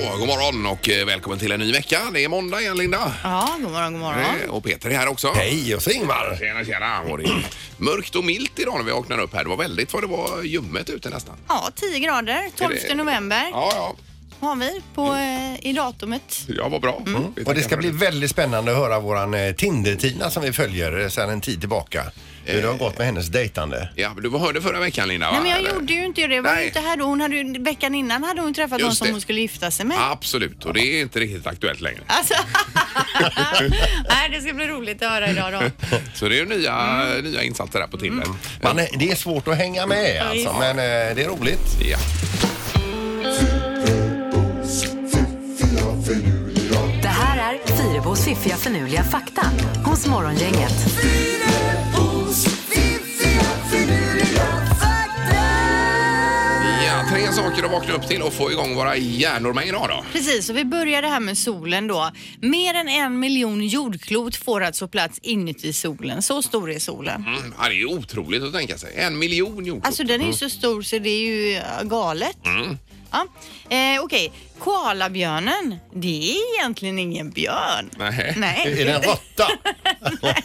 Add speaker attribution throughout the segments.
Speaker 1: morgon och eh, välkommen till en ny vecka. Det är måndag igen Linda.
Speaker 2: Ja, god morgon, god morgon.
Speaker 1: Eh, Och Peter är här också.
Speaker 3: Hej, och så Ingmar.
Speaker 1: Tjena, tjena. Och det är mörkt och milt idag när vi vaknar upp här. Det var väldigt vad det var ljummet ute nästan.
Speaker 2: Ja, 10 grader, 12
Speaker 1: Är det-
Speaker 2: november
Speaker 1: Ja, ja.
Speaker 2: har vi på, eh, i datumet.
Speaker 1: Ja, vad bra. Mm. Vi
Speaker 3: Och det ska
Speaker 1: tackar för
Speaker 3: bli väldigt spännande att höra våran eh, Tinder-Tina som vi följer eh, sedan en tid tillbaka. Hur det har gått med hennes dejtande.
Speaker 1: Ja, du hörde förra veckan Linda va?
Speaker 2: Nej men jag
Speaker 1: Eller?
Speaker 2: gjorde ju inte det. Jag var
Speaker 1: Nej.
Speaker 2: ju inte här då. Hon hade ju, veckan innan hade hon träffat
Speaker 1: Just
Speaker 2: någon som
Speaker 1: det.
Speaker 2: hon skulle gifta sig med.
Speaker 1: Absolut, och det är inte riktigt aktuellt längre.
Speaker 2: Alltså, nej, det ska bli roligt att höra idag då.
Speaker 1: Så det är ju nya, nya insatser här på Tinder.
Speaker 3: Man, är- eh, det är svårt att hänga med alltså, men eh, det är roligt.
Speaker 1: Ja.
Speaker 4: Det här är Fyrabos fiffiga förnuliga fakta hos Morgongänget.
Speaker 1: ja, tre saker att vakna upp till och få igång våra hjärnor med idag då.
Speaker 2: Precis, och vi börjar det här med solen då. Mer än en miljon jordklot får alltså plats inuti solen. Så stor är solen.
Speaker 1: Mm. Ja, det är ju otroligt att tänka sig. En miljon jordklot.
Speaker 2: Alltså den är ju så stor så det är ju äh, galet. Ja. Eh, Okej, koalabjörnen, det är egentligen ingen björn.
Speaker 1: Nej.
Speaker 2: Nej.
Speaker 3: Är det en råtta?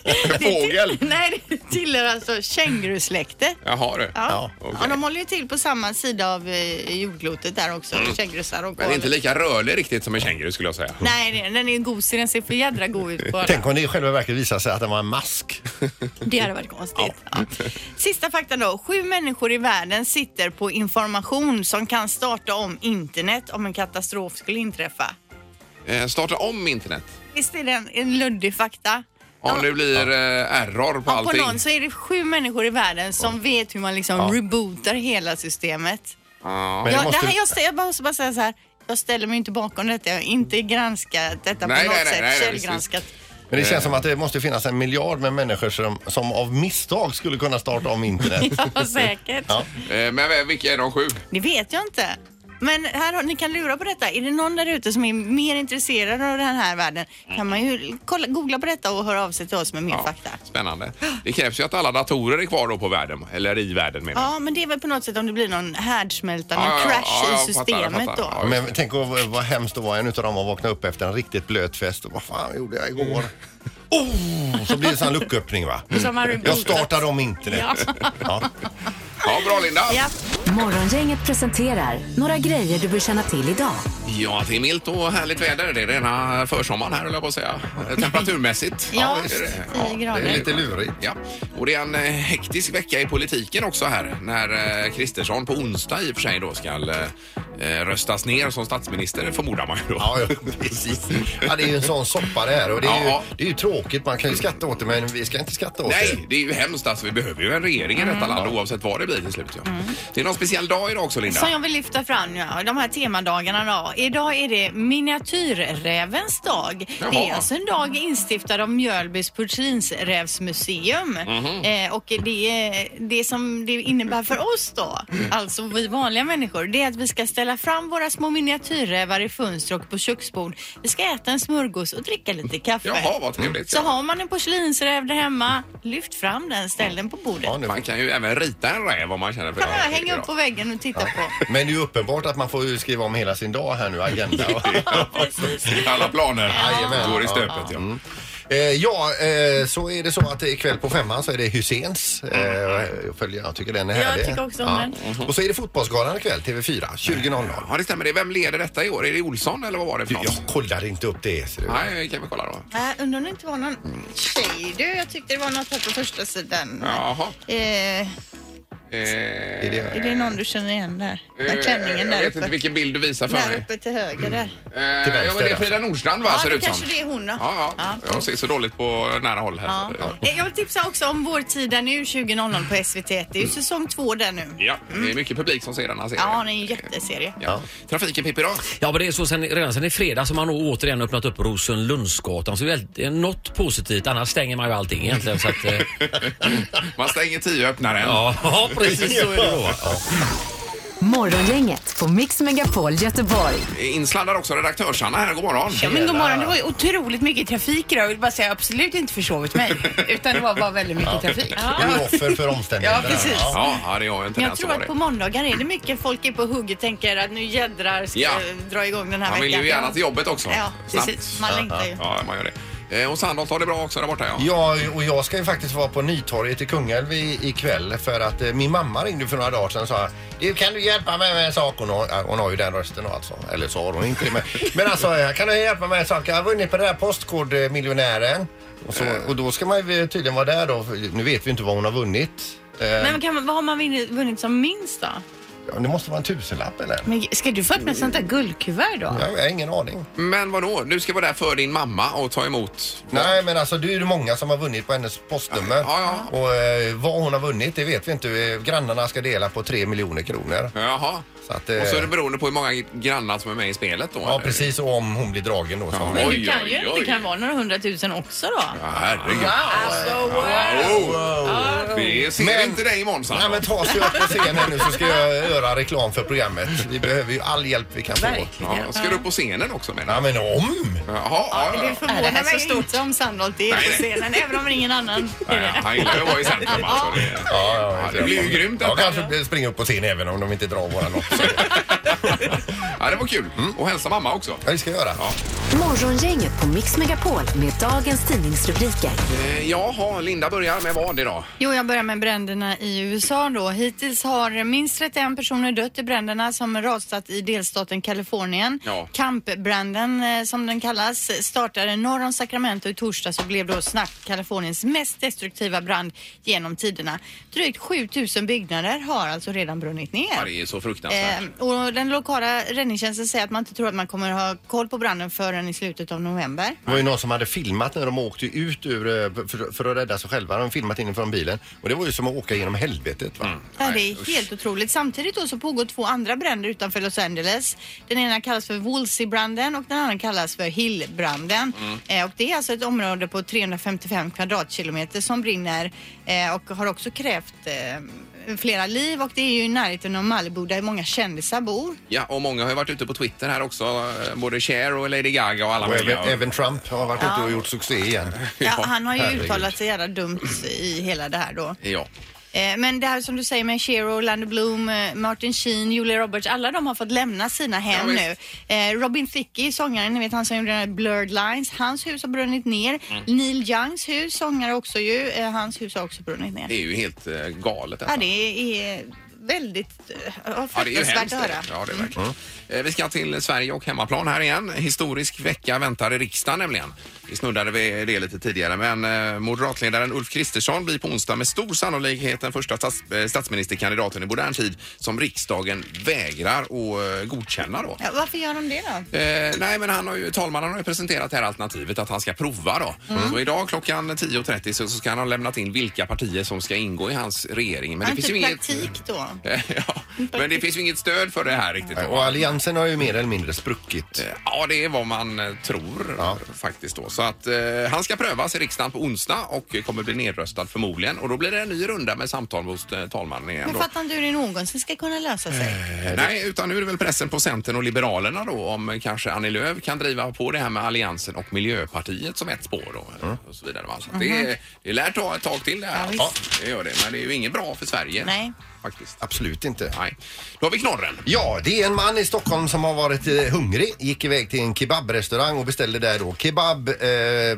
Speaker 2: Det till-
Speaker 3: fågel?
Speaker 2: Nej, det tillhör alltså kängurusläktet.
Speaker 1: Jaha du.
Speaker 2: Ja.
Speaker 1: okej.
Speaker 2: ja, de håller ju till på samma sida av eh, jordklotet där också, kängurusar och
Speaker 1: Men
Speaker 2: koalor.
Speaker 1: inte lika rörlig riktigt som en känguru skulle jag säga.
Speaker 2: Nej, det- den är ju gosig. Den ser för jädra god ut bara.
Speaker 3: Tänk om det i själva verket visar sig att det var en mask.
Speaker 2: Det hade varit konstigt. Ja. Sista faktan då. Sju människor i världen sitter på information som kan starta om internet om en katastrof skulle inträffa.
Speaker 1: Eh, starta om internet.
Speaker 2: Visst är det en, en luddig fakta?
Speaker 1: Om det blir eh, error på
Speaker 2: Ja, på
Speaker 1: allting.
Speaker 2: någon så är det sju människor i världen som vet hur man liksom rebootar hela systemet.
Speaker 1: Ja.
Speaker 3: Men det
Speaker 2: Jag,
Speaker 3: måste-
Speaker 2: det här, jag, stä- jag måste bara säga så här. Jag ställer mig inte bakom detta. Jag har inte granskat detta
Speaker 1: Nej,
Speaker 2: på något
Speaker 1: nej, nej,
Speaker 2: sätt.
Speaker 1: nej, nej,
Speaker 2: källgranskat.
Speaker 3: Men det känns som att det måste finnas en miljard med människor som, som av misstag skulle kunna starta om internet.
Speaker 2: Ja, säkert.
Speaker 3: Ja.
Speaker 1: Eh, men vem- vilka är de sju?
Speaker 2: Det vet jag inte. Men här, har- ni kan lura på detta. Är det någon där ute som är mer intresserad av den här världen kan man ju kolla, googla på detta och höra av sig till oss med mer
Speaker 1: Ja,
Speaker 2: fakta.
Speaker 1: Spännande. Det krävs ju att alla datorer är kvar då på världen, eller i världen menar jag.
Speaker 2: Ja, men det är väl på något sätt om det blir någon härdsmälta, någon
Speaker 1: Ja, ja, ja,
Speaker 2: crash
Speaker 1: jag
Speaker 2: i
Speaker 1: fattar, jag
Speaker 2: systemet
Speaker 1: fattar.
Speaker 2: då.
Speaker 1: Ja,
Speaker 3: Men tänk vad vad hemskt att vara en utav dem och vakna upp efter en riktigt blöt fest. Och vad fan gjorde jag
Speaker 1: Mm.
Speaker 3: igår? Oh, så blir det en sån lucköppning va?
Speaker 2: Som har
Speaker 3: Jag
Speaker 2: rebootat.
Speaker 3: startar om internet. Ja.
Speaker 1: Ja, bra Linda!
Speaker 2: Ja.
Speaker 4: Morgongänget presenterar några grejer du bör känna till idag.
Speaker 1: Ja, det är milt och härligt väder. Det är rena försommaren här, höll jag på att säga. Eh, Temperaturmässigt.
Speaker 2: Ja,
Speaker 1: det är det.
Speaker 2: tio grader.
Speaker 1: det är
Speaker 3: Lite lurigt.
Speaker 1: Ja. Och det är en eh, hektisk vecka i politiken också här när eh, Kristersson på onsdag i och för sig då ska eh, röstas ner som statsminister, förmodar man ju då.
Speaker 3: Ja, ja, precis. Ja, det är ju en sån soppa det här och det är,
Speaker 1: Ja.
Speaker 3: ju, det är ju tråkigt. Man kan ju skratta åt det men vi ska inte skratta åt
Speaker 1: Nej, det är ju hemskt alltså. Vi behöver ju en regering i
Speaker 2: Mm.
Speaker 1: detta land oavsett vad det blir till slut. Ja. Det är någon speciell dag idag också, Linda.
Speaker 2: Som jag vill lyfta fram ja, de här temadagarna då. Idag är det miniatyrrävens dag.
Speaker 1: Jaha.
Speaker 2: Det är alltså en dag instiftad av Mjölbys porslinsrävsmuseum.
Speaker 1: Mhm.
Speaker 2: Eh, och det, är- det som det innebär för oss då, alltså vi vanliga människor, det är att vi ska ställa fram våra små miniatyrrävar i fönster och på köksbord. Vi ska äta en smörgås och dricka lite kaffe.
Speaker 1: Jaha, vad trevligt.
Speaker 2: Mm. Så har man en porslinsräv där hemma, lyft fram den, ställ den på bordet.
Speaker 3: Ja, nu.
Speaker 1: Man kan ju även rita en räv om man känner för
Speaker 2: Kan
Speaker 1: det.
Speaker 2: man hänga upp på väggen och titta på.
Speaker 3: Men det är ju uppenbart att man får ju skriva om hela sin dag här nu, agenda.
Speaker 2: Precis.
Speaker 1: Alla planer
Speaker 3: Jajamän.
Speaker 1: går i stöpet. Ja.
Speaker 3: Mm. Eh, ja, eh, så är det så att ikväll på femman så är det Husseins. Eh, jag följer- jag tycker den är
Speaker 2: Jag
Speaker 3: härlig.
Speaker 2: tycker också om den.
Speaker 3: Och så är det Fotbollsgalan ikväll, TV4, 20.00.
Speaker 1: Ja, det stämmer. det. Vem leder detta i år? Är det Olsson eller vad var det för
Speaker 3: Du,
Speaker 1: något?
Speaker 3: Jag kollar inte upp det. ser du.
Speaker 1: Nej, det kan vi kolla då.
Speaker 2: Äh, undrar om det inte var någon tjej du? Jag tyckte det var något här på första sidan.
Speaker 1: Jaha.
Speaker 2: Eh,
Speaker 1: Eh,
Speaker 3: Är det,
Speaker 2: är det någon du känner igen där?
Speaker 1: eh,
Speaker 2: Där klänningen
Speaker 1: jag
Speaker 2: där
Speaker 1: vet inte
Speaker 2: uppe.
Speaker 1: vilken bild du visar för
Speaker 2: Där
Speaker 1: mig.
Speaker 2: uppe till höger där.
Speaker 1: Eh,
Speaker 3: Till vänster
Speaker 1: ja, men det är
Speaker 3: där.
Speaker 1: Frida Nordstrand va,
Speaker 2: Ja,
Speaker 1: ser det
Speaker 2: det
Speaker 1: ut som.
Speaker 2: kanske det är hon då.
Speaker 1: Ja, ja. Jag ser så dåligt på nära håll här.
Speaker 2: Ja.
Speaker 1: Ja.
Speaker 2: Eh, Jag vill tipsa också om Vår tid är nu 20.00 på SVT. Det är ju säsong två där nu.
Speaker 1: Ja, det är mycket publik som ser den här serien.
Speaker 2: Ja, det är en jätteserie.
Speaker 1: Ja. Trafiken Pippi då?
Speaker 5: Ja, men det är så sen, redan sen i fredag som man nog återigen öppnat upp Rosenlundsgatan. Så det är väl- det är något positivt, annars stänger man ju allting egentligen. Så att, eh,
Speaker 1: Man stänger tio och öppnar en.
Speaker 5: ja, precis så är det då.
Speaker 4: Morgongänget på Mix Megapol Göteborg.
Speaker 1: Insladdar också redaktörs-Anna här. God morgon.
Speaker 6: Ja, men god morgon. Det var ju otroligt mycket trafik idag. Jag vill bara säga jag har absolut inte försovit mig. Utan det var bara väldigt mycket trafik.
Speaker 3: Du är offer för omständigheterna.
Speaker 6: Ja, precis.
Speaker 1: Ja, ja, det har jag inte
Speaker 2: Jag tror att på måndagar är det mycket folk är på hugg och tänker att nu jädrar ska
Speaker 1: Ja.
Speaker 2: jag dra igång den här
Speaker 1: Man vill
Speaker 2: veckan.
Speaker 1: ju gärna till jobbet också.
Speaker 2: Ja,
Speaker 1: Snabbt.
Speaker 2: precis. Man längtar ju.
Speaker 1: Ja, man gör det. Eh, Och Sandholt har det bra också där borta ja.
Speaker 3: Ja, och jag ska ju faktiskt vara på Nytorget i Kungälv i- ikväll för att eh, min mamma ringde för några dagar sedan och sa du kan du hjälpa mig med en sak? Hon har, hon har ju den rösten och alltså. Eller så har hon inte det. Men, men alltså, eh, kan du hjälpa mig med en sak? Jag har vunnit på den här Postkodmiljonären. Och, så, och då ska man ju eh, tydligen vara där då. för Nu vet vi inte vad hon har vunnit. Eh,
Speaker 2: Nej, Men kan man, vad har man vunnit, vunnit som minst då?
Speaker 3: ja, det måste vara en tusenlapp eller?
Speaker 6: Men ska du få öppna ett sånt där guldkuvert då?
Speaker 3: Jag har ingen aning.
Speaker 1: Men vadå? Du ska vara där för din mamma och ta emot?
Speaker 3: Nej, men alltså det är ju många som har vunnit på hennes postnummer.
Speaker 1: Ja,
Speaker 3: Och eh, vad hon har vunnit, det vet vi inte. Eh, Grannarna ska dela på 3 miljoner kronor.
Speaker 1: Jaha.
Speaker 3: Så att, eh,
Speaker 1: Och så är det beroende på hur många grannar som är med i spelet då?
Speaker 3: Ja,
Speaker 1: eller?
Speaker 3: precis. Och om hon blir dragen då.
Speaker 1: Ja.
Speaker 3: Så.
Speaker 2: Men
Speaker 1: Oj,
Speaker 2: det kan
Speaker 1: oj,
Speaker 2: ju
Speaker 1: oj.
Speaker 2: det kan vara några hundratusen också då.
Speaker 1: Ja, herregud.
Speaker 6: Alltså, wow.
Speaker 1: Oh. Vi ser
Speaker 3: Men-
Speaker 1: inte dig imorgon
Speaker 3: Nej, men
Speaker 1: Sandholt.
Speaker 3: ta sig upp på scenen nu så ska jag göra reklam för programmet. Vi behöver ju all hjälp vi kan få.
Speaker 6: Verkligen.
Speaker 1: Ja, ska du på scenen också menar
Speaker 3: Ja,
Speaker 1: jag?
Speaker 3: men om!
Speaker 1: Jaha, ja, ja,
Speaker 6: Ja,
Speaker 1: ja.
Speaker 2: Det
Speaker 6: Äh, det
Speaker 2: förvånar
Speaker 6: här är så
Speaker 2: mig
Speaker 6: stort.
Speaker 2: inte om Sandholt är på scenen, även om ingen annan
Speaker 1: Nej,
Speaker 2: är det.
Speaker 1: Han gillar ju att vara i centrum alltså. Det, ja, det blir ju grymt
Speaker 3: Jag
Speaker 1: detta.
Speaker 3: kanske springer upp på scen även om de inte drar våra lopp.
Speaker 1: Ja, det var kul.
Speaker 3: Mm.
Speaker 1: Och hälsa mamma också.
Speaker 3: Ja, det ska jag göra.
Speaker 4: Morgongänget på Mix Megapol med dagens tidningsrubriker.
Speaker 1: Eh, Jaha, Linda börjar med vad idag?
Speaker 2: Jo, jag börjar med bränderna i USA då. Hittills har minst 31 personer dött i bränderna som rasat i delstaten Kalifornien.
Speaker 1: Ja.
Speaker 2: Campbranden eh, som den kallas startade norr om Sacramento i torsdags och blev då snabbt Kaliforniens mest destruktiva brand genom tiderna. Drygt 7000 byggnader har alltså redan brunnit ner.
Speaker 1: Ja, det är så fruktansvärt.
Speaker 2: Eh, och den lokala räddningstjänsten säger att man inte tror att man kommer ha koll på branden förrän i slutet av november.
Speaker 3: Det var ju någon som hade filmat när de åkte ut ur, eh, för, för att rädda sig själva. De hade filmat inifrån bilen. Och det var ju som att åka genom helvetet. Va?
Speaker 2: Ja, det är helt otroligt. Samtidigt då så pågår två andra bränder utanför Los Angeles. Den ena kallas för Woolsey-branden och den andra kallas för Hill-branden. Eh, och det är alltså ett område på 355 kvadratkilometer som brinner eh, och har också krävt eh, flera liv och det är ju i närheten av Malibu där många kändisar bor.
Speaker 1: Ja, och många har ju varit ute på Twitter här också. eh, Både Cher och Lady Gaga och alla
Speaker 3: Och även,
Speaker 1: möjliga.
Speaker 3: även Trump har varit ute och gjort succé igen.
Speaker 2: Ja, han har ju
Speaker 3: herregud.
Speaker 2: uttalat sig jävla dumt i hela det här då.
Speaker 1: Ja.
Speaker 2: Eh, Men det här som du säger med Shero, Orlando Bloom, eh, Martin Sheen, Julia Roberts, alla de har fått lämna sina hem
Speaker 1: Ja,
Speaker 2: nu. Eh, Robin Thicke, sångaren, ni vet han som gjorde den här Blurred Lines, hans hus har brunnit ner.
Speaker 1: Mm.
Speaker 2: Neil Youngs hus, sångare också ju, eh, hans hus har också brunnit ner.
Speaker 1: Det är ju helt eh, galet.
Speaker 2: Ja,
Speaker 1: Alltså.
Speaker 2: det är väldigt eh,
Speaker 1: Ja, det är ju
Speaker 2: fruktansvärt
Speaker 1: hemskt.
Speaker 2: att höra. Mm.
Speaker 1: det. Ja, det är verkligen. Eh, Vi ska till Sverige och hemmaplan här igen. Historisk vecka väntar i riksdagen nämligen. Vi snuddade vid det lite tidigare, men eh, moderatledaren Ulf Kristersson blir på onsdag med stor sannolikhet den första stats eh, statsministerkandidaten i modern tid som riksdagen vägrar att eh, godkänna då.
Speaker 2: Ja, varför gör de det då?
Speaker 1: Eh, nej, men han har ju, talmannen har ju presenterat det här alternativet att han ska prova då.
Speaker 2: Mm.
Speaker 1: Så idag klockan 10.30 så, så ska han ha lämnat in vilka partier som ska ingå i hans regering. Men
Speaker 2: Har
Speaker 1: det finns
Speaker 2: inte
Speaker 1: ju inget...
Speaker 2: praktik då?
Speaker 1: ja, men det finns ju inget stöd för det här riktigt.
Speaker 3: Och alliansen har ju mer eller mindre spruckit.
Speaker 1: Eh, Ja, det är vad man eh, tror eh, faktiskt då. Så att eh, han ska prövas i riksdagen på onsdag och eh, kommer bli nedröstad förmodligen. Och då blir det en ny runda med samtal hos eh, talmannen igen
Speaker 2: Men
Speaker 1: då. Eh,
Speaker 2: fattar inte hur det någonsin ska kunna lösa sig.
Speaker 1: Nej, utan nu är det väl pressen på Centern och Liberalerna då om eh, kanske Annie Lööf kan driva på det här med Alliansen och Miljöpartiet som ett spår då. eh, Och så vidare. va. Så att det, är- det lär ta ett tag till det här.
Speaker 2: Mm. Ja,
Speaker 1: det gör det. Men det är ju inget bra för Sverige.
Speaker 2: Nej.
Speaker 1: Faktiskt.
Speaker 3: Absolut inte.
Speaker 1: Nej. Då har vi knorren.
Speaker 3: Ja, det är en man i Stockholm som har varit eh, hungrig. Gick iväg till en kebabrestaurang och beställde där då kebab, eh,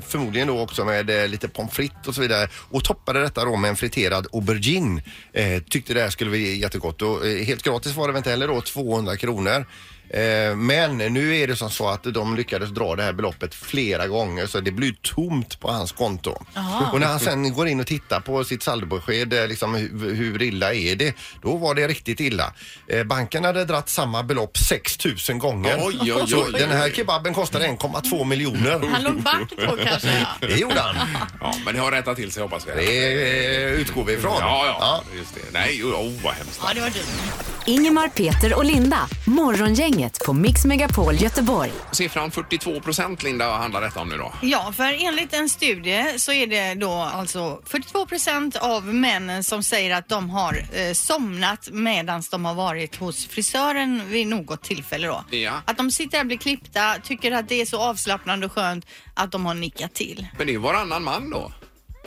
Speaker 3: förmodligen då också med eh, lite pommes frites och så vidare. Och toppade detta då med en friterad aubergine. Eh, tyckte det här skulle bli jättegott och eh, helt gratis var det väl inte heller då, 200 kronor. Eh, Men nu är det som så att de lyckades dra det här beloppet flera gånger så det blir tomt på hans konto. Och när han sen går in och tittar på sitt saldobesked, eh, liksom, hur, hur illa är det? Då var det riktigt illa. Eh, Banken hade dratt samma belopp 6 000 gånger.
Speaker 1: Oj, oj, oj,
Speaker 3: så
Speaker 1: oj.
Speaker 3: den här kebaben kostade 1,2 miljoner.
Speaker 2: Han låg back då kanske. ja.
Speaker 3: Det gjorde han.
Speaker 1: Ja, men det har rättat till sig hoppas vi.
Speaker 3: Det eh, utgår vi ifrån.
Speaker 1: Ja, ja, just det. Nej, oh, vad hemskt.
Speaker 2: Ja, det var dumt.
Speaker 4: Ingemar, Peter och Linda. Morgongänget Morgongänget på Mix Megapol Göteborg.
Speaker 1: Siffran 42 procent, Linda, handlar detta om nu då.
Speaker 2: Ja, för enligt en studie så är det då alltså 42 procent av männen som säger att de har eh, somnat medan de har varit hos frisören vid något tillfälle då.
Speaker 1: Ja.
Speaker 2: Att de sitter där och blir klippta, tycker att det är så avslappnande och skönt att de har nickat till.
Speaker 1: Men det är ju varannan man då.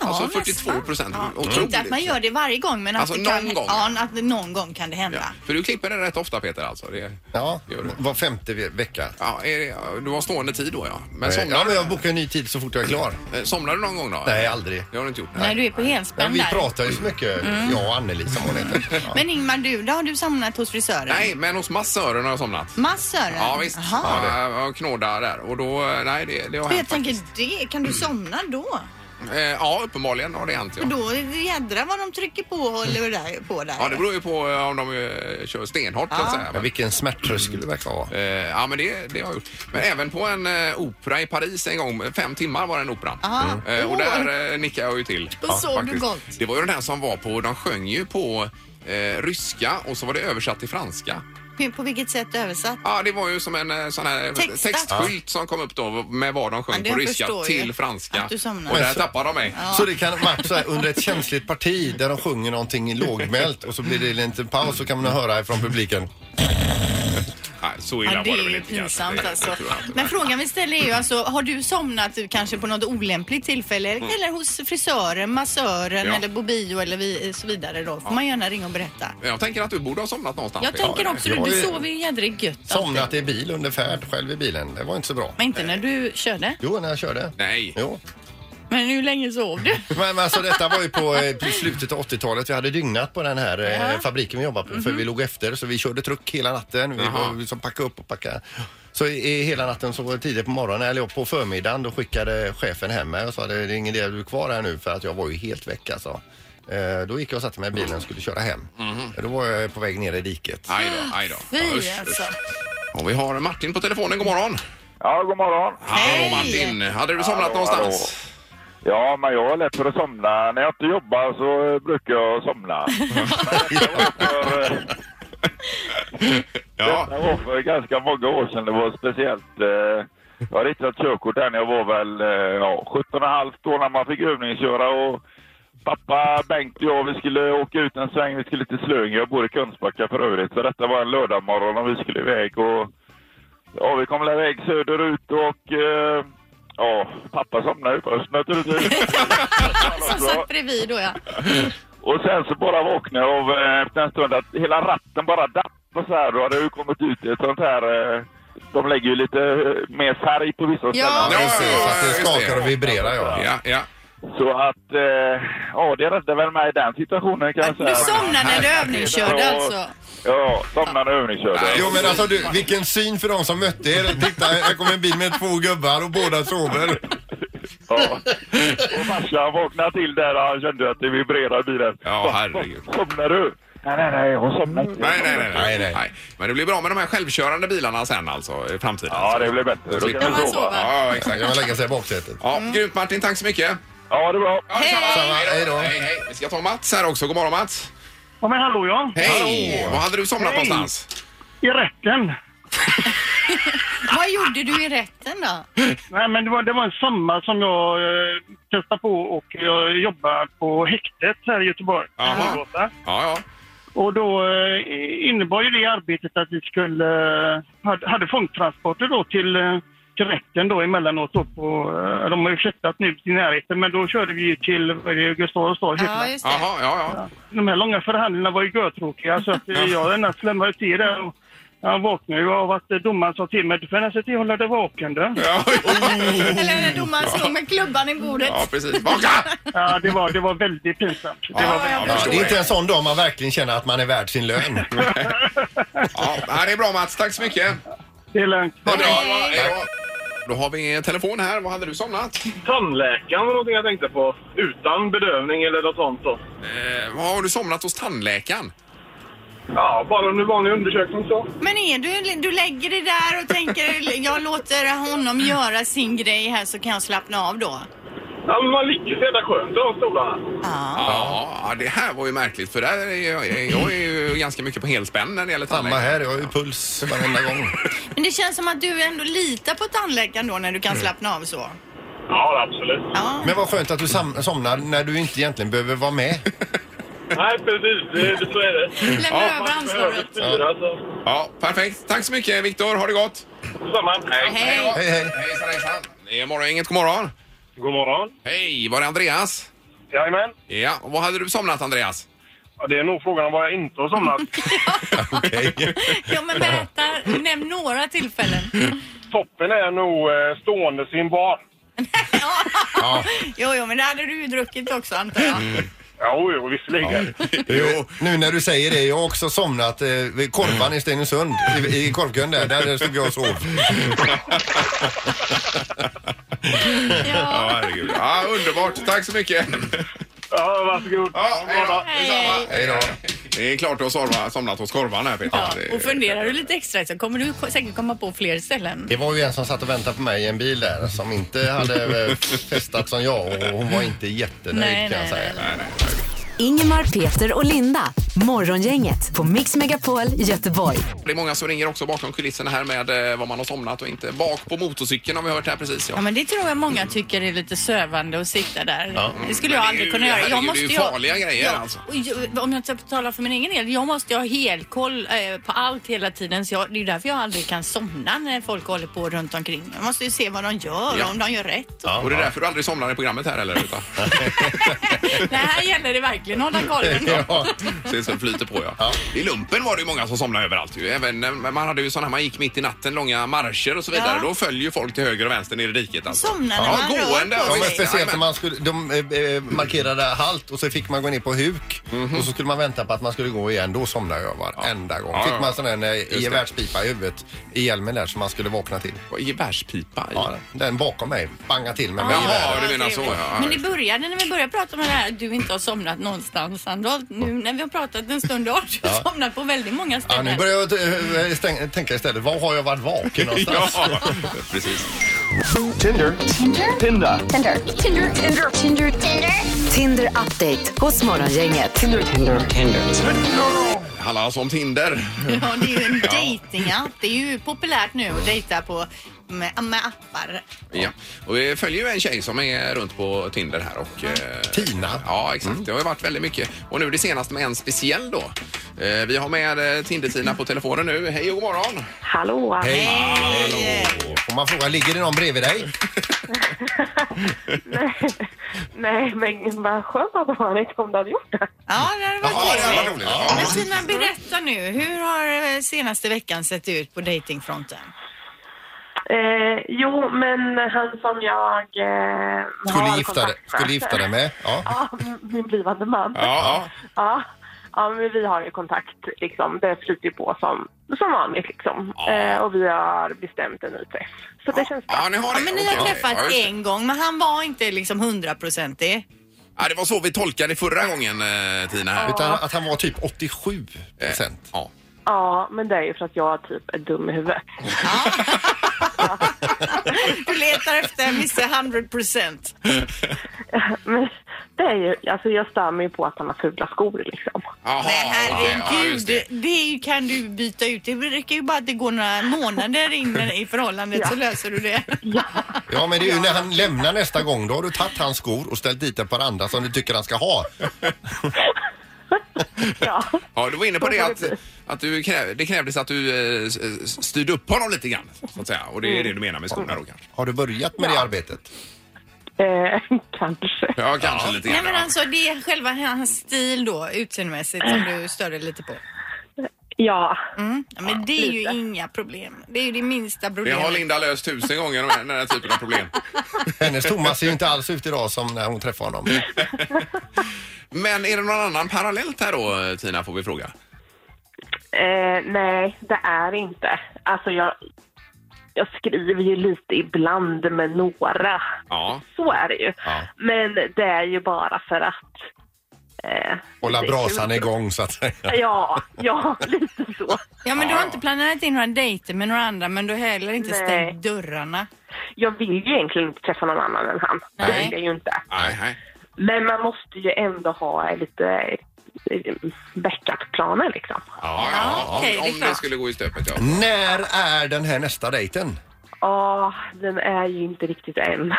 Speaker 2: Ja,
Speaker 1: alltså
Speaker 2: nästan.
Speaker 1: 42 procent.
Speaker 2: Ja.
Speaker 1: Otroligt.
Speaker 2: Inte att man gör det varje gång men att,
Speaker 1: Alltså,
Speaker 2: det kan,
Speaker 1: någon gång.
Speaker 2: Ja, att det någon gång kan det hända.
Speaker 1: Ja. För du klipper det rätt ofta, Peter, alltså? Det,
Speaker 3: Ja,
Speaker 1: Gör det.
Speaker 3: var femte ve- vecka. Eh,
Speaker 1: ja, är det, ja, du har stående tid då, ja. Men somnar,
Speaker 3: Ja, men jag bokar en ny tid så fort jag är klar.
Speaker 1: eh, somnar du någon gång då?
Speaker 3: Nej, aldrig.
Speaker 1: Det har du inte gjort?
Speaker 2: När du är på
Speaker 3: Ja,
Speaker 2: helspänn
Speaker 3: vi
Speaker 2: där.
Speaker 3: pratar ju så mycket, jag och Anneli som hon heter. Ja.
Speaker 2: Men Ingmar, du då? Har du somnat hos frisören?
Speaker 1: Nej, men hos massören har jag somnat.
Speaker 2: Massören?
Speaker 1: Ja, visst.
Speaker 2: Mm. Jaha.
Speaker 1: Ja, jag knådar där och då, eh, nej, det, det har
Speaker 2: Men
Speaker 1: hänt
Speaker 2: jag tänker,
Speaker 1: faktiskt.
Speaker 2: det, kan du somna då?
Speaker 1: Eh, Ja, uppenbarligen har det hänt, ja.
Speaker 2: För då är det jädra vad de trycker på och håller där, på där.
Speaker 1: Ja, det beror ju på eh, om de eh, kör stenhårt, så att säga.
Speaker 3: Ja,
Speaker 1: Men,
Speaker 3: vilken smärttröskel det verkar vara.
Speaker 1: eh, ja, men det, det har jag gjort. Men även på en eh, opera i Paris en gång, fem timmar var den operan.
Speaker 2: Ja.
Speaker 1: Eh, och
Speaker 2: Ah. Åh.
Speaker 1: där eh, nickade jag ju till.
Speaker 2: Då såg
Speaker 1: faktiskt.
Speaker 2: du gott.
Speaker 1: Det var ju den här som var på, de sjöng ju på eh, ryska och så var det översatt till franska.
Speaker 2: Hur- På vilket sätt översatt?
Speaker 1: Ja, det var ju som en eh, sån här
Speaker 2: Textat.
Speaker 1: textskylt som kom upp då med vad de sjöng
Speaker 2: Ja, det
Speaker 1: på
Speaker 2: jag
Speaker 1: ryska
Speaker 2: förstår ju
Speaker 1: till franska.
Speaker 2: att du somnar.
Speaker 1: Och där
Speaker 3: Men så-
Speaker 1: tappade de mig.
Speaker 3: Så det kan vara så här, under ett känsligt parti där de sjunger någonting lågmält och så blir det en liten paus så kan man höra från publiken.
Speaker 1: Nej, så illa
Speaker 2: Ja, det
Speaker 1: var det
Speaker 2: är
Speaker 1: väl
Speaker 2: ju
Speaker 1: inte kanske.
Speaker 2: pinsamt
Speaker 1: Det-
Speaker 2: alltså.
Speaker 1: det tror jag inte.
Speaker 2: Men frågan vi ställer är ju alltså, har du somnat kanske på något olämpligt tillfälle? Eller hos frisören, massören
Speaker 1: Mm. Ja.
Speaker 2: eller på bio eller vi, så vidare då? Får man gärna ringa och berätta.
Speaker 1: Jag tänker att du borde ha somnat någonstans.
Speaker 2: Jag
Speaker 1: Peter.
Speaker 2: tänker också det,
Speaker 3: jag
Speaker 2: du
Speaker 3: är-
Speaker 2: sover ju jädrigt gött alltid.
Speaker 3: Somnat i bil under färd, själv i bilen. Det var inte så bra.
Speaker 2: Men inte när du körde.
Speaker 3: Jo, när jag körde.
Speaker 1: Nej.
Speaker 3: Jo.
Speaker 2: Men hur länge sov du?
Speaker 3: Men, men alltså detta var ju på, eh, på slutet av 80-talet. Vi hade dygnat på den här eh, fabriken vi jobbade på för vi låg efter så vi körde truck hela natten. Vi
Speaker 1: Jaha.
Speaker 3: var liksom packa upp och packa. Så i, i hela natten så var det tidigt på morgonen eller på förmiddagen då skickade chefen hem mig och sa det är ingen idé att du är kvar här nu för att jag var ju helt väck alltså. Eh, då gick jag och satte mig i bilen och skulle köra hem. Då var jag på väg ner i diket.
Speaker 1: Aj då, aj då. Ja, usch.
Speaker 2: Fy alltså.
Speaker 1: Och vi har Martin på telefonen. God morgon.
Speaker 7: Ja, god morgon.
Speaker 1: Hallå
Speaker 2: Hej.
Speaker 1: Martin. Hade du somnat
Speaker 7: Hallå,
Speaker 1: någonstans?
Speaker 7: Ja, men jag har lätt för att somna. När jag inte jobbar så eh, brukar jag somna. För, eh,
Speaker 1: Ja.
Speaker 7: Det var för ganska många år sedan. Det var speciellt. eh, Jag har ritat körkort där när jag var väl eh, ja, 17 och halvt år när man fick övningsköra. Och pappa Bengt och jag vi skulle åka ut en sväng. Vi skulle till Slöinge. Jag bor i Kungsbacka för övrigt. Så detta var en lördagmorgon och vi skulle iväg. Och, ja, vi kom väl iväg söderut och eh, ja, pappa somnade ju först naturligtvis.
Speaker 2: Som satt bredvid då ja.
Speaker 7: Och sen så bara vaknade jag av eh, efter en stund att hela ratten bara dapp och så här. Då hade jag ju kommit ut i ett sånt här... Eh, de lägger ju lite eh, mer färg på vissa
Speaker 2: Ja,
Speaker 3: Precis, att det
Speaker 1: just det.
Speaker 3: skakar och vibrerar ja.
Speaker 1: Ja, ja.
Speaker 7: Så att... Eh, ja, det räddade väl mig i den situationen kan jag
Speaker 1: Alltså,
Speaker 7: säga.
Speaker 2: Du somnade när du övningskörde alltså.
Speaker 7: Ja, somnade när övningskörde.
Speaker 3: Jo men alltså du, vilken syn för de som mötte er. Titta, här kommer en bil med två gubbar och båda sover.
Speaker 7: Ja. Och farsan vaknade till där och han kände att det vibrerade i bilen.
Speaker 1: Ja,
Speaker 7: Va,
Speaker 1: herregud.
Speaker 7: Somnar du? Nej, nej, nej, hon somnade inte.
Speaker 1: Nej, nej, nej, nej.
Speaker 3: Nej, nej.
Speaker 1: Men det blir bra med de här självkörande bilarna sen alltså i framtiden.
Speaker 7: Ja, det blev bättre.
Speaker 1: Alltså,
Speaker 7: Då kan
Speaker 2: man
Speaker 7: vi
Speaker 2: sova.
Speaker 7: sova.
Speaker 1: Ja, exakt.
Speaker 3: Kan man lägga sig i baksätet?
Speaker 1: Ja, Grymt Martin, tack så mycket.
Speaker 7: Ja, det var bra.
Speaker 1: Ja, detsamma.
Speaker 3: Samma, hej då.
Speaker 1: Hej, hej. Vi ska ta Mats här också. God morgon Mats.
Speaker 8: Ja, men hallå ja.
Speaker 1: Hej! Var hade du somnat
Speaker 8: Hej.
Speaker 1: någonstans?
Speaker 8: I rätten.
Speaker 2: Vad gjorde du i rätten då?
Speaker 8: Nej, men det var, det var en sommar som jag eh, testade på och jag jobbade på häktet här i Göteborg.
Speaker 1: Jaha.
Speaker 8: Storgatan.
Speaker 1: Ja, ja.
Speaker 8: Och då eh, innebar ju det arbetet att vi skulle, eh, hade, hade fångtransporter då till, eh, till rätten då emellanåt då på, eh, de har ju flyttat nu till närheten, men då körde vi ju till vad är det, Gustav Adolfs torg.
Speaker 2: Ja, just det.
Speaker 1: Jaha, ja, ja.
Speaker 8: De här långa förhandlingarna var ju görtråkiga så att eh, jag nästan lämnade till där och jag vaknade ju av att eh, domaren sa till mig, du får nästan till att hålla dig vaken du.
Speaker 2: Eller
Speaker 3: Mm.
Speaker 2: när domaren slog med klubban i bordet.
Speaker 1: Ja, precis. Baka!
Speaker 8: Ja, det var, det var väldigt pinsamt. Det var väldigt...
Speaker 1: jag
Speaker 3: Ja,
Speaker 1: förstår
Speaker 3: det är inte en sån dag man verkligen känner att man är värd sin lön.
Speaker 1: Ja, ja, det är bra Mats. Tack så mycket.
Speaker 8: Det är lugnt.
Speaker 1: Ha det bra. Hej då. Då har vi en telefon här. Vad hade du somnat?
Speaker 8: Tandläkaren var någonting jag tänkte på. Utan bedövning eller något sånt då.
Speaker 1: Eh, vad har du somnat hos tandläkaren?
Speaker 8: Ja, bara under vanlig undersökning så.
Speaker 2: Men är du, du lägger dig där och tänker jag låter honom göra sin grej här så kan jag slappna av då?
Speaker 8: Ja, men man ligger så jävla skönt i de stolarna.
Speaker 6: Ja.
Speaker 1: Ja, det här var ju märkligt för där är jag, jag är ju ganska mycket på helspänn när det gäller
Speaker 3: Samma
Speaker 1: tandläkare.
Speaker 3: här, jag har ju puls varenda gång.
Speaker 2: Men det känns som att du ändå litar på tandläkaren då när du
Speaker 3: Mm.
Speaker 2: kan slappna av så.
Speaker 8: Ja, absolut.
Speaker 2: Ja.
Speaker 3: Men vad skönt att du sam- somnar när du inte egentligen behöver vara med.
Speaker 8: Nej, precis. Det, det, så är det.
Speaker 3: Mm.
Speaker 2: Lämnar över ansvaret.
Speaker 8: styra, alltså.
Speaker 1: Ja, perfekt. Tack så mycket Viktor, ha det gott!
Speaker 8: Detsamma. Hej.
Speaker 2: Hej.
Speaker 3: Hej, hej.
Speaker 1: Hejsan hejsan! Det är morgon, inget god morgon.
Speaker 8: God morgon.
Speaker 1: Hej, var det Andreas?
Speaker 8: Jajamän.
Speaker 1: Ja, och vad hade du somnat Andreas?
Speaker 8: Ja, Det är nog frågan om vad jag inte har somnat.
Speaker 2: Ja men berätta, nämn några tillfällen.
Speaker 8: Toppen är nog eh, stående sin bar.
Speaker 2: Ja. Jo, jo men det hade du ju druckit också antar
Speaker 3: Mm.
Speaker 2: jag.
Speaker 8: Jo, jo, visserligen.
Speaker 3: Jo, nu när du säger det, jag har också somnat eh, vid korvan i Stenungsund, i, i korvkön där, där stod jag och sov.
Speaker 1: Ja, herregud. Ja, underbart. Tack så mycket.
Speaker 8: Ja, varsågod.
Speaker 1: Ja, hej då.
Speaker 2: Hej.
Speaker 1: Detsamma.
Speaker 3: Hej då.
Speaker 1: Det är klart du har sorva- somnat hos korvarna här Peter.
Speaker 2: Ja,
Speaker 1: Det-
Speaker 2: och funderar du lite extra så kommer du ko- säkert komma på fler ställen.
Speaker 3: Det var ju en som satt och väntade på mig i en bil där som inte hade eh, festat som jag och hon var inte jättenöjd
Speaker 2: Nej,
Speaker 3: kan
Speaker 2: nej,
Speaker 3: jag säga.
Speaker 1: Nej, nej.
Speaker 4: Ingemar, Peter och Linda. Morgongänget på Mix Megapol Göteborg.
Speaker 1: Det är många som ringer också bakom kulisserna här med eh, vad man har somnat och inte. Bak på motorcykeln har vi hört här precis.
Speaker 2: Ja
Speaker 1: Ja.
Speaker 2: men det tror jag många tycker är lite sövande att sitta där. Det skulle jag
Speaker 1: Men det är
Speaker 2: aldrig
Speaker 1: ju-
Speaker 2: kunna göra.
Speaker 1: herregud,
Speaker 2: Jag
Speaker 1: det är ju
Speaker 2: ha-
Speaker 1: farliga grejer,
Speaker 2: ja,
Speaker 1: alltså.
Speaker 2: och jag- Om jag ska tala för min egen del, jag måste ju ha helkoll eh, på allt hela tiden. Så jag, det är ju därför jag aldrig kan somna när folk håller på runt omkring. Jag måste ju se vad de gör
Speaker 1: Ja.
Speaker 2: och om de gör rätt.
Speaker 1: Och det är därför du aldrig somnar i programmet här eller? Utan,
Speaker 2: Det här gäller det verkligen att hålla kollen.
Speaker 3: Ja.
Speaker 1: precis, så det flyter på ja. I lumpen var det ju många som somnade överallt ju. Även när man hade ju sådana här, man gick mitt i natten, långa marscher och så vidare.
Speaker 2: Ja.
Speaker 1: Då följer ju folk till höger och vänster ner i diket alltså.
Speaker 2: Somnar när
Speaker 1: ja,
Speaker 2: man rör
Speaker 1: gående,
Speaker 2: på
Speaker 1: ja,
Speaker 3: Ja, men
Speaker 1: visst.
Speaker 3: speciellt när
Speaker 1: Jajamän.
Speaker 3: man skulle, de eh, eh, markerade halt och så fick man gå ner på huk och så skulle man vänta på att man skulle gå igen. Då somnade jag varenda gång.
Speaker 1: Mhm. Ja, ja,
Speaker 3: Fick man sån där
Speaker 1: det.
Speaker 3: eh, gevärspipa i huvudet i hjälmen där som man skulle vakna till.
Speaker 1: Och Gevärspipa i.
Speaker 3: Ja, den bakom mig bangade till mig med
Speaker 1: Jaha,
Speaker 3: geväret.
Speaker 1: du menar så, ja.
Speaker 2: Men det började när vi började prata om det här att du inte har somnat någonstans Sandholt. Nu när vi har pratat en stund har du somnat på väldigt många
Speaker 3: Ja,
Speaker 2: ställen.
Speaker 3: nu börjar jag eh, stäng- tänka istället, var har jag varit vaken
Speaker 1: Ja,
Speaker 3: någonstans?
Speaker 1: precis.
Speaker 4: Tinder update hos Morgongänget.
Speaker 1: Det handlar alltså om Tinder.
Speaker 2: Ja, det är ju en dejtingapp. Det är ju populärt nu att dejta på med, med appar.
Speaker 1: Ja. Och vi följer ju en tjej som är runt på Tinder här och... eh,
Speaker 3: Tina. Mm.
Speaker 1: Ja, exakt. Det har ju varit väldigt mycket. Och nu det senaste med en speciell då. Eh, Vi har med eh, Tinder-Tina på telefonen nu. Hej och god morgon!
Speaker 9: Hallå!
Speaker 3: Hej! Får man fråga, ligger det någon bredvid dig?
Speaker 9: Nej, men vad skönt att man inte om du hade gjort det.
Speaker 2: Ja, det hade varit
Speaker 1: Ja, det här
Speaker 2: trevligt.
Speaker 1: var roligt. Ja.
Speaker 2: Men Tina, berätta nu. Hur har eh, senaste veckan sett ut på dejtingfronten?
Speaker 9: Eh, jo, men han som jag eh,
Speaker 3: Skulle
Speaker 9: har
Speaker 3: gifta, dig-
Speaker 9: kontakt med.
Speaker 3: skulle gifta dig med? Ja.
Speaker 9: Ja, min blivande man.
Speaker 1: Ja,
Speaker 9: Ja. Ja, men vi har ju kontakt. Liksom. Det flyter ju på som, som vanligt. Liksom.
Speaker 1: Ja.
Speaker 9: Eh, och vi har bestämt en ny träff. Så det känns bra.
Speaker 1: ja ni har
Speaker 2: Ja,
Speaker 1: det.
Speaker 2: men ni
Speaker 1: Okej,
Speaker 2: har
Speaker 1: okej.
Speaker 2: träffats
Speaker 1: Ja, just det.
Speaker 2: en gång, men han var inte liksom hundraprocentig.
Speaker 1: Ja, det var så vi tolkade förra gången, eh, Tina. Här.
Speaker 3: Utan att han var typ 87 procent.
Speaker 1: Ja.
Speaker 9: Ja, men det är ju för att jag typ är dum i huvudet.
Speaker 2: Du letar efter Mr 100%.
Speaker 9: Men det är ju, alltså jag stör mig ju på att han har fula skor liksom.
Speaker 1: Jaha,
Speaker 2: Nej,
Speaker 1: okej. Ja, just
Speaker 2: herregud.
Speaker 1: det.
Speaker 2: det är ju- kan du byta ut. Det räcker ju bara att det går några månader in i förhållandet så löser du det.
Speaker 3: Ja, men det är ju när han lämnar nästa gång. Då har du tagit hans skor och ställt dit ett par andra som du tycker han ska ha.
Speaker 9: Ja,
Speaker 1: Ja, du var inne på det
Speaker 9: får
Speaker 1: att,
Speaker 9: det bli.
Speaker 1: att du kräv, det krävdes att du eh, s- s- styrde upp honom lite grann. Så att säga. Och det är det du menar med skorna då kanske?
Speaker 3: Har du börjat med det arbetet?
Speaker 9: eh, kanske.
Speaker 1: Ja, kanske lite
Speaker 2: Nej
Speaker 1: grann.
Speaker 2: men
Speaker 1: ja.
Speaker 2: alltså det är själva hans stil då utseendemässigt som
Speaker 1: Mm.
Speaker 2: du stör dig lite på.
Speaker 9: Ja,
Speaker 2: Ja, men det är ju inga problem. Det är ju det minsta
Speaker 1: Det har
Speaker 2: problemet.
Speaker 1: Linda löst tusen gånger, den här typen av problem.
Speaker 3: Hennes Thomas ser ju inte alls ut idag som när hon träffar honom.
Speaker 1: Men är det någon annan parallellt här då, Tina, får vi fråga?
Speaker 9: Eh, nej, det är inte. Alltså jag, jag skriver ju lite ibland med några.
Speaker 1: Ja.
Speaker 9: Så är det ju.
Speaker 3: Ja.
Speaker 9: Men det är ju bara för att Eh,
Speaker 3: Hålla
Speaker 9: det är
Speaker 3: brasan
Speaker 9: kul.
Speaker 3: igång så att säga.
Speaker 9: Ja, ja, lite så.
Speaker 2: Ja, men du har inte planerat in några dejter med några andra, men du har heller inte
Speaker 9: Nej.
Speaker 2: stängt dörrarna.
Speaker 9: Jag vill ju egentligen inte träffa någon annan än han. Det
Speaker 2: Nej.
Speaker 9: vill jag ju inte.
Speaker 1: Nej, nej.
Speaker 9: Men man måste ju ändå ha lite eh, backup-planer liksom.
Speaker 1: Ja, ja,
Speaker 2: okej, det är
Speaker 1: om, om det
Speaker 2: klart.
Speaker 1: skulle gå i stöpet, ja.
Speaker 3: När är den här nästa dejten?
Speaker 9: Ja, den är ju inte riktigt än.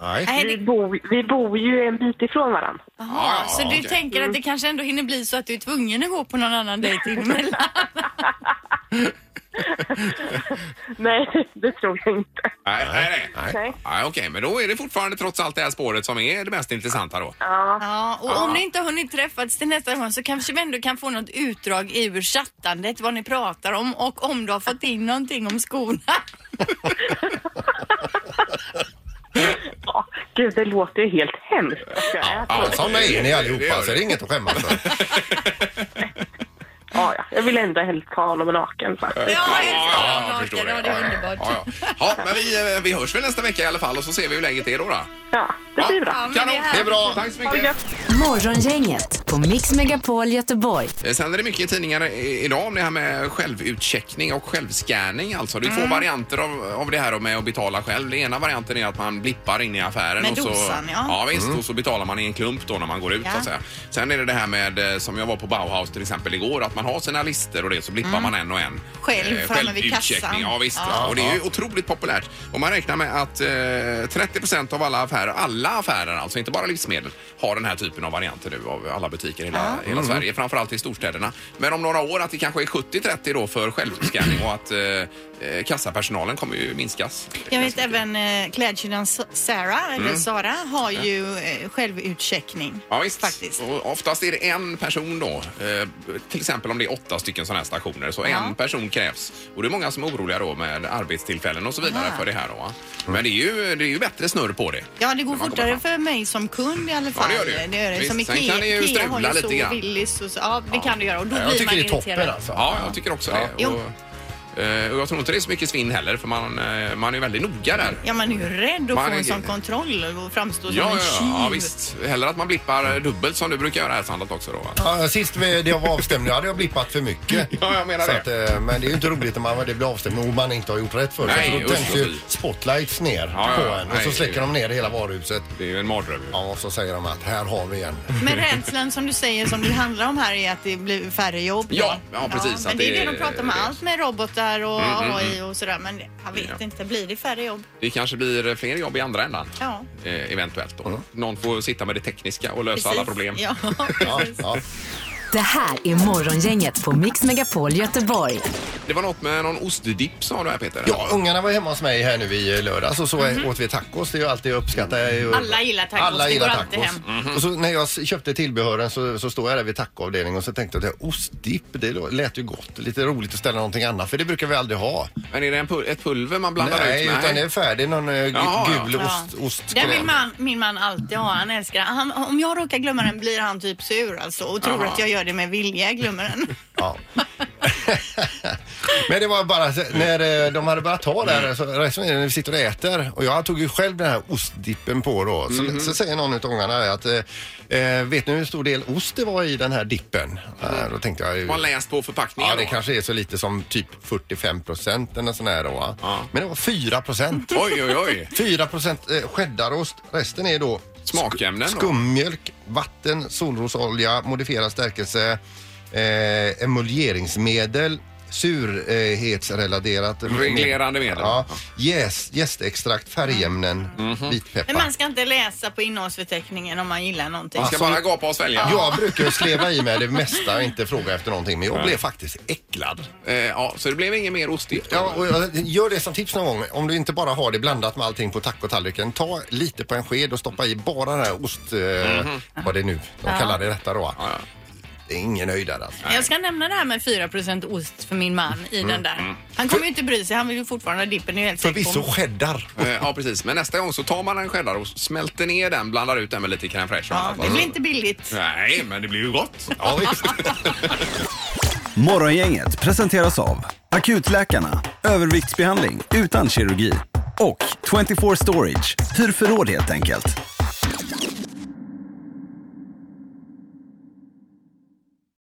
Speaker 3: Nej.
Speaker 2: Nej,
Speaker 9: Vi
Speaker 2: det,
Speaker 9: bor, vi bor ju en bit ifrån varandra.
Speaker 2: aha,
Speaker 1: Ja,
Speaker 2: så
Speaker 1: okej.
Speaker 2: du tänker
Speaker 9: Mm.
Speaker 2: att det kanske ändå hinner bli så att du är tvungen att gå på någon annan dejt emellan?
Speaker 9: Nej, det tror jag inte.
Speaker 1: Nej, nej, nej.
Speaker 9: Nej.
Speaker 1: Nej, okej, men då är det fortfarande trots allt det här spåret som är det mest intressanta då.
Speaker 9: Ja,
Speaker 2: Ja, och om ni inte har hunnit träffats till nästa gång så kanske vi ändå kan få något utdrag ur chattandet vad ni pratar om och om du har fått in någonting om skorna.
Speaker 9: ja. Gud, det låter ju helt hemskt. att jag är
Speaker 1: ja,
Speaker 9: så.
Speaker 3: Såna är ni
Speaker 1: Det gör
Speaker 3: allihopa,
Speaker 1: det.
Speaker 3: så det är inget att skämmas för.
Speaker 9: Ja, ja. Jag vill ändå helst ha honom naken. Så.
Speaker 2: Ja, just det.
Speaker 1: jag förstår
Speaker 2: Ja, det är underbart.
Speaker 1: Ja, ja. ja men vi, eh, vi hörs väl nästa vecka i alla fall och så ser vi hur läget är då. då.
Speaker 9: Ja, det blir bra.
Speaker 2: men
Speaker 1: Kanon,
Speaker 2: är
Speaker 1: det är bra.
Speaker 2: härligt.
Speaker 1: Tack så
Speaker 9: Ha det
Speaker 1: mycket.
Speaker 9: gött.
Speaker 4: Morgongänget på Mix Megapol Göteborg.
Speaker 1: Eh, Sen är det mycket i tidningar i- idag om det här med självutcheckning och självscanning. Alltså, det är
Speaker 2: Mm.
Speaker 1: två varianter av, av det här då med att betala själv. Den ena varianten är att man blippar in i affären.
Speaker 2: Med
Speaker 1: och så,
Speaker 2: dosan, ja.
Speaker 1: Ja, visst. Och så betalar man i en klump då när man går ut.
Speaker 2: Ja.
Speaker 1: Så att säga. Sen är det det här med, eh, som jag var på Bauhaus till exempel igår, att man har sina listor och det så blippar man en och en.
Speaker 2: Mm.
Speaker 1: Eh,
Speaker 2: Själv framme vid
Speaker 1: självutcheckning.
Speaker 2: kassan.
Speaker 1: Ja, visst.
Speaker 2: Ja.
Speaker 1: Och det är ju otroligt populärt. Och man räknar med att eh, 30 av alla affärer, alla affärer alltså, inte bara livsmedel, har den här typen av varianter nu av alla butiker i hela, hela
Speaker 2: Mm.
Speaker 1: Sverige, framförallt i storstäderna. Men om några år att det kanske är 70-30 då för självscanning och att eh, eh, kassapersonalen kommer ju minskas.
Speaker 2: Jag vet även eh, klädkedjan S- Sarah, eller Sara, har ju eh, självutcheckning.
Speaker 1: Mm. Ja, visst.
Speaker 2: Faktiskt.
Speaker 1: Och oftast är det en person då. Eh, till exempel om det är åtta stycken sådana här stationer. Så en person krävs. Och det är många som är oroliga då med arbetstillfällen och så vidare
Speaker 2: Ja. Mm.
Speaker 1: för det här då. va. Men det är ju, det är ju bättre snurr på det.
Speaker 2: Ja, det går
Speaker 1: När man kommer
Speaker 2: fortare
Speaker 1: fram.
Speaker 2: för mig som kund i alla fall.
Speaker 1: gör det ju. Visst,
Speaker 2: Som
Speaker 1: sen
Speaker 2: Ikea,
Speaker 1: kan det ju
Speaker 2: Ikea har
Speaker 1: strula
Speaker 2: ju
Speaker 1: lite
Speaker 2: så
Speaker 1: grann.
Speaker 2: Willys och så. Ja, det
Speaker 1: Ja.
Speaker 2: kan du göra och då
Speaker 3: Jag
Speaker 2: blir man
Speaker 3: tycker det är
Speaker 2: irriterad.
Speaker 3: toppen alltså.
Speaker 1: Ja, jag tycker också det.
Speaker 2: Ja.
Speaker 1: Och, eh, och jag tror inte det är så mycket svinn heller för man, eh, man är väldigt noga där.
Speaker 2: Ja, man är ju rädd att
Speaker 1: Man
Speaker 2: få
Speaker 1: är-
Speaker 2: en sån kontroll och framstå som
Speaker 1: Ja,
Speaker 2: en
Speaker 1: ja,
Speaker 2: tjuv. Mm.
Speaker 1: ja, visst. Hellre att man blippar dubbelt som du brukar göra här Sandholt också då. va?
Speaker 3: Ja, sist vi, det var avstämning hade jag blippat för mycket.
Speaker 1: Ja, jag menar
Speaker 3: så
Speaker 1: det.
Speaker 3: att, eh, men det är ju inte roligt när man, det blir avstämning och man inte har gjort rätt för sig.
Speaker 1: Nej,
Speaker 3: så
Speaker 1: usch,
Speaker 3: då tänds
Speaker 1: vad
Speaker 3: ju
Speaker 1: fint.
Speaker 3: spotlights ner
Speaker 1: Ja,
Speaker 3: på
Speaker 1: ja, ja.
Speaker 3: en och
Speaker 1: Nej,
Speaker 3: så släcker
Speaker 1: det-
Speaker 3: de ner hela varuhuset.
Speaker 1: Det är ju en mardröm ju.
Speaker 3: Ja, och så säger de att här har vi en.
Speaker 2: Men rädslan som du säger som det handlar om här är att det blir färre jobb. då.
Speaker 1: Ja, ja, precis,
Speaker 2: men
Speaker 1: att
Speaker 2: det är
Speaker 1: det-
Speaker 2: det de pratar om.
Speaker 1: det-
Speaker 2: Allt med robotar och AI och sådär. Men jag vet
Speaker 1: mm. Ja.
Speaker 2: inte, blir det färre jobb?
Speaker 1: Det kanske blir fler jobb i andra ändan.
Speaker 2: Ja.
Speaker 1: Eh, eventuellt då.
Speaker 3: Mm.
Speaker 1: Någon får sitta med det tekniska och lösa alla
Speaker 2: Precis.
Speaker 1: problem.
Speaker 2: Ja,
Speaker 3: Ja,
Speaker 2: precis.
Speaker 3: ja.
Speaker 4: Det här är Morgongänget på Mix Megapol Göteborg.
Speaker 1: Det var något med någon ostdipp sa du här Peter.
Speaker 3: ja, ungarna var hemma hos mig här nu i eh, lördags och så åt vi tacos. Det är ju alltid jag uppskattar. Jag är ju-
Speaker 2: Mhm. Alla gillar tacos.
Speaker 3: Alla
Speaker 2: Det
Speaker 3: gillar
Speaker 2: går alltid
Speaker 3: tacos. Och så när jag s- köpte tillbehören så, så står jag där vid tacoavdelningen och så tänkte jag att ostdipp, det lå- lät ju gott. Lite roligt att ställa någonting annat för det brukar vi aldrig ha.
Speaker 1: Men är det en pul- ett pulver man blandar
Speaker 3: Nej,
Speaker 1: ut med?
Speaker 3: utan det är färdig någon eh, gu-
Speaker 1: Jaha, ja.
Speaker 3: gul
Speaker 2: Ja.
Speaker 3: ost, ostkräm.
Speaker 2: Den vill man, min man alltid ha. Han älskar den. han, Om jag råkar glömma den blir han typ sur alltså och tror
Speaker 1: Jaha.
Speaker 2: att jag gör det med vilja. Jag glömmer den.
Speaker 3: Ja. Men det var bara så- när eh, de hade börjat ta där så resonerade vi, när vi sitter och äter och jag tog ju själv den här ostdippen på då. Så,
Speaker 1: Mhm.
Speaker 3: så säger någon utav ungarna där att eh, eh, vet ni hur stor del ost det var i den här dippen?
Speaker 1: Mm.
Speaker 3: Eh, då tänkte jag
Speaker 1: Man har läst på förpackningen
Speaker 3: Ja, det
Speaker 1: då.
Speaker 3: kanske är så lite som typ 45 procent eller sån här då. va?
Speaker 1: Ja.
Speaker 3: Men det var 4 procent.
Speaker 1: Oj, oj, oj.
Speaker 3: 4 procent eh, cheddarost. Resten är då
Speaker 1: Smakämnen då?
Speaker 3: skummjölk, vatten, solrosolja, modifierad stärkelse, eh, emulgeringsmedel, surhetsrelaterat
Speaker 1: Reglerande medel. Mm.
Speaker 3: Ja, jäs, jästextrakt, färgämnen,
Speaker 1: Mhm.
Speaker 3: vitpeppar.
Speaker 2: Men man ska inte läsa på innehållsförteckningen om man gillar någonting.
Speaker 1: Man
Speaker 3: Alltså-
Speaker 1: ska bara gapa och svälja.
Speaker 3: Jag brukar ju sleva i mig det mesta och inte fråga efter någonting men jag blev faktiskt äcklad.
Speaker 1: Eh, ja, så det blev ingen mer ostdipp? då?
Speaker 3: Ja, och jag- gör det som tips någon gång. Om du inte bara har det blandat med allting på tacotallriken, ta lite på en sked och stoppa i bara den här ost... Eh, Vad det är nu de kallar det detta då. Det är ingen höjdare alltså.
Speaker 2: Jag ska nämna det här med 4 ost för min man i den där. Han kommer ju inte bry sig. Han vill ju fortfarande ha dippen. det Är jag helt säker
Speaker 3: Förvisso
Speaker 2: på.
Speaker 3: cheddar.
Speaker 1: Eh, ja, precis. Men nästa gång så tar man en cheddar och smälter ner den, blandar ut den med lite crème fraîche. och
Speaker 2: Ja,
Speaker 1: annat, va?
Speaker 2: det blir inte billigt.
Speaker 1: Nej, men det blir ju gott.
Speaker 3: Ja, visst.
Speaker 10: Morgongänget presenteras av Akutläkarna, överviktsbehandling utan kirurgi och 24 Storage, hyr förråd helt enkelt.